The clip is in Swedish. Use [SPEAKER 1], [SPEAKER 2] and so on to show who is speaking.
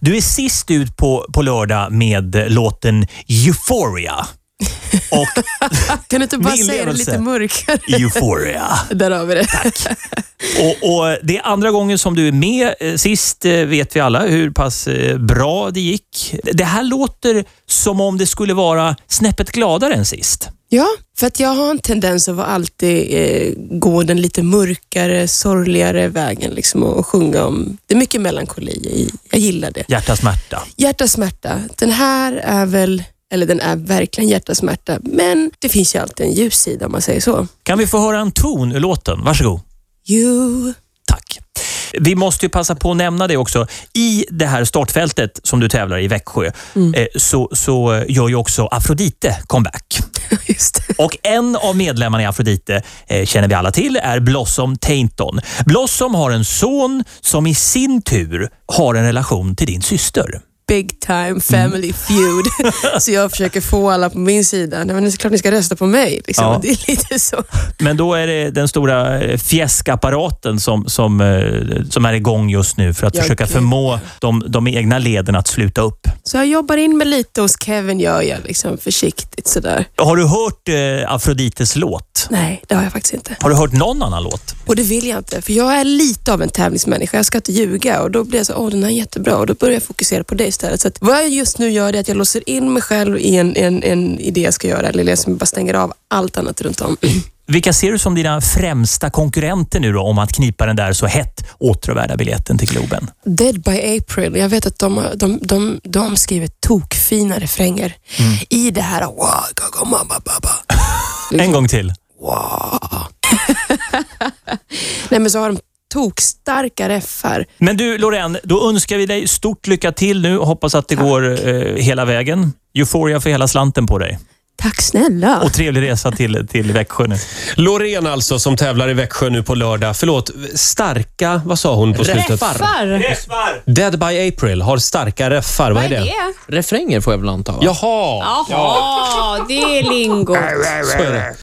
[SPEAKER 1] Du är sist ut på, på lördag med låten Euphoria. Och
[SPEAKER 2] Kan du inte bara
[SPEAKER 1] Min
[SPEAKER 2] säga det
[SPEAKER 1] levelse.
[SPEAKER 2] lite mörkare?
[SPEAKER 1] Euphoria.
[SPEAKER 2] Där har vi det. Tack.
[SPEAKER 1] Och, och Det är andra gången som du är med. Eh, Sist eh, vet vi alla hur pass eh, bra det gick. Det här låter som om det skulle vara snäppet gladare än sist.
[SPEAKER 2] Ja, för att jag har en tendens att vara alltid eh, gå den lite mörkare, sorgligare vägen liksom, och, och sjunga om... Det är mycket melankoli i. Jag gillar det.
[SPEAKER 1] Hjärta smärta.
[SPEAKER 2] Hjärta smärta. Den här är väl... Eller den är verkligen hjärta smärta, men det finns ju alltid en ljus sida om man säger så.
[SPEAKER 1] Kan vi få höra en ton ur låten? Varsågod.
[SPEAKER 2] You...
[SPEAKER 1] Tack. Vi måste ju passa på att nämna det också. I det här startfältet som du tävlar i Växjö eh, så, så gör ju också Afrodite comeback.
[SPEAKER 2] Just det.
[SPEAKER 1] Och en av medlemmarna i Afrodite, eh, känner vi alla till, är Blossom Tainton. Blossom har en son som i sin tur har en relation till din syster.
[SPEAKER 2] Big time family feud. så jag försöker få alla på min sida. Nej, men det är klart ni ska rösta på mig. Liksom.
[SPEAKER 1] Ja.
[SPEAKER 2] Det är lite så.
[SPEAKER 1] Men då är det den stora eh, fjäskapparaten som, som, eh, som är igång just nu för att
[SPEAKER 2] Ja,
[SPEAKER 1] försöka
[SPEAKER 2] gud.
[SPEAKER 1] förmå de, de egna leden att sluta upp.
[SPEAKER 2] Så jag jobbar in mig lite hos Kevin, gör jag liksom försiktigt sådär.
[SPEAKER 1] Har du hört eh, Afrodites låt?
[SPEAKER 2] Nej, det har jag faktiskt inte.
[SPEAKER 1] Har du hört någon annan låt?
[SPEAKER 2] Och det vill jag inte, för jag är lite av en tävlingsmänniska. Jag ska inte ljuga och då blir jag så, åh den här är jättebra och då börjar jag fokusera på det istället. Så att vad jag just nu gör är att jag låser in mig själv i en, en, en idé jag ska göra, eller liksom bara stänger av allt annat runt om.
[SPEAKER 1] Vilka ser du som dina främsta konkurrenter nu då om att knipa den där så hett åtråvärda biljetten till Globen?
[SPEAKER 2] Dead by April, jag vet att de, har- de, de, de skriver tokfina refränger i det här wow, go, go, mama, baba.
[SPEAKER 1] En gång till.
[SPEAKER 2] Wow. Nej men så har de tokstarka reffar.
[SPEAKER 1] Men du Loreen, då önskar vi dig stort lycka till nu och hoppas att det går eh, hela vägen. Euphoria för hela slanten på dig.
[SPEAKER 2] Tack snälla.
[SPEAKER 1] Och trevlig resa till, till Växjö nu.
[SPEAKER 3] Loreen alltså, som tävlar i Växjö nu på lördag. Förlåt, starka... Vad sa hon på slutet?
[SPEAKER 4] Far.
[SPEAKER 3] Dead by April har starka reffar. Vad är det?
[SPEAKER 5] Refränger får jag väl anta? Va?
[SPEAKER 3] Jaha,
[SPEAKER 4] Jaha, det är lingot.
[SPEAKER 3] så är det.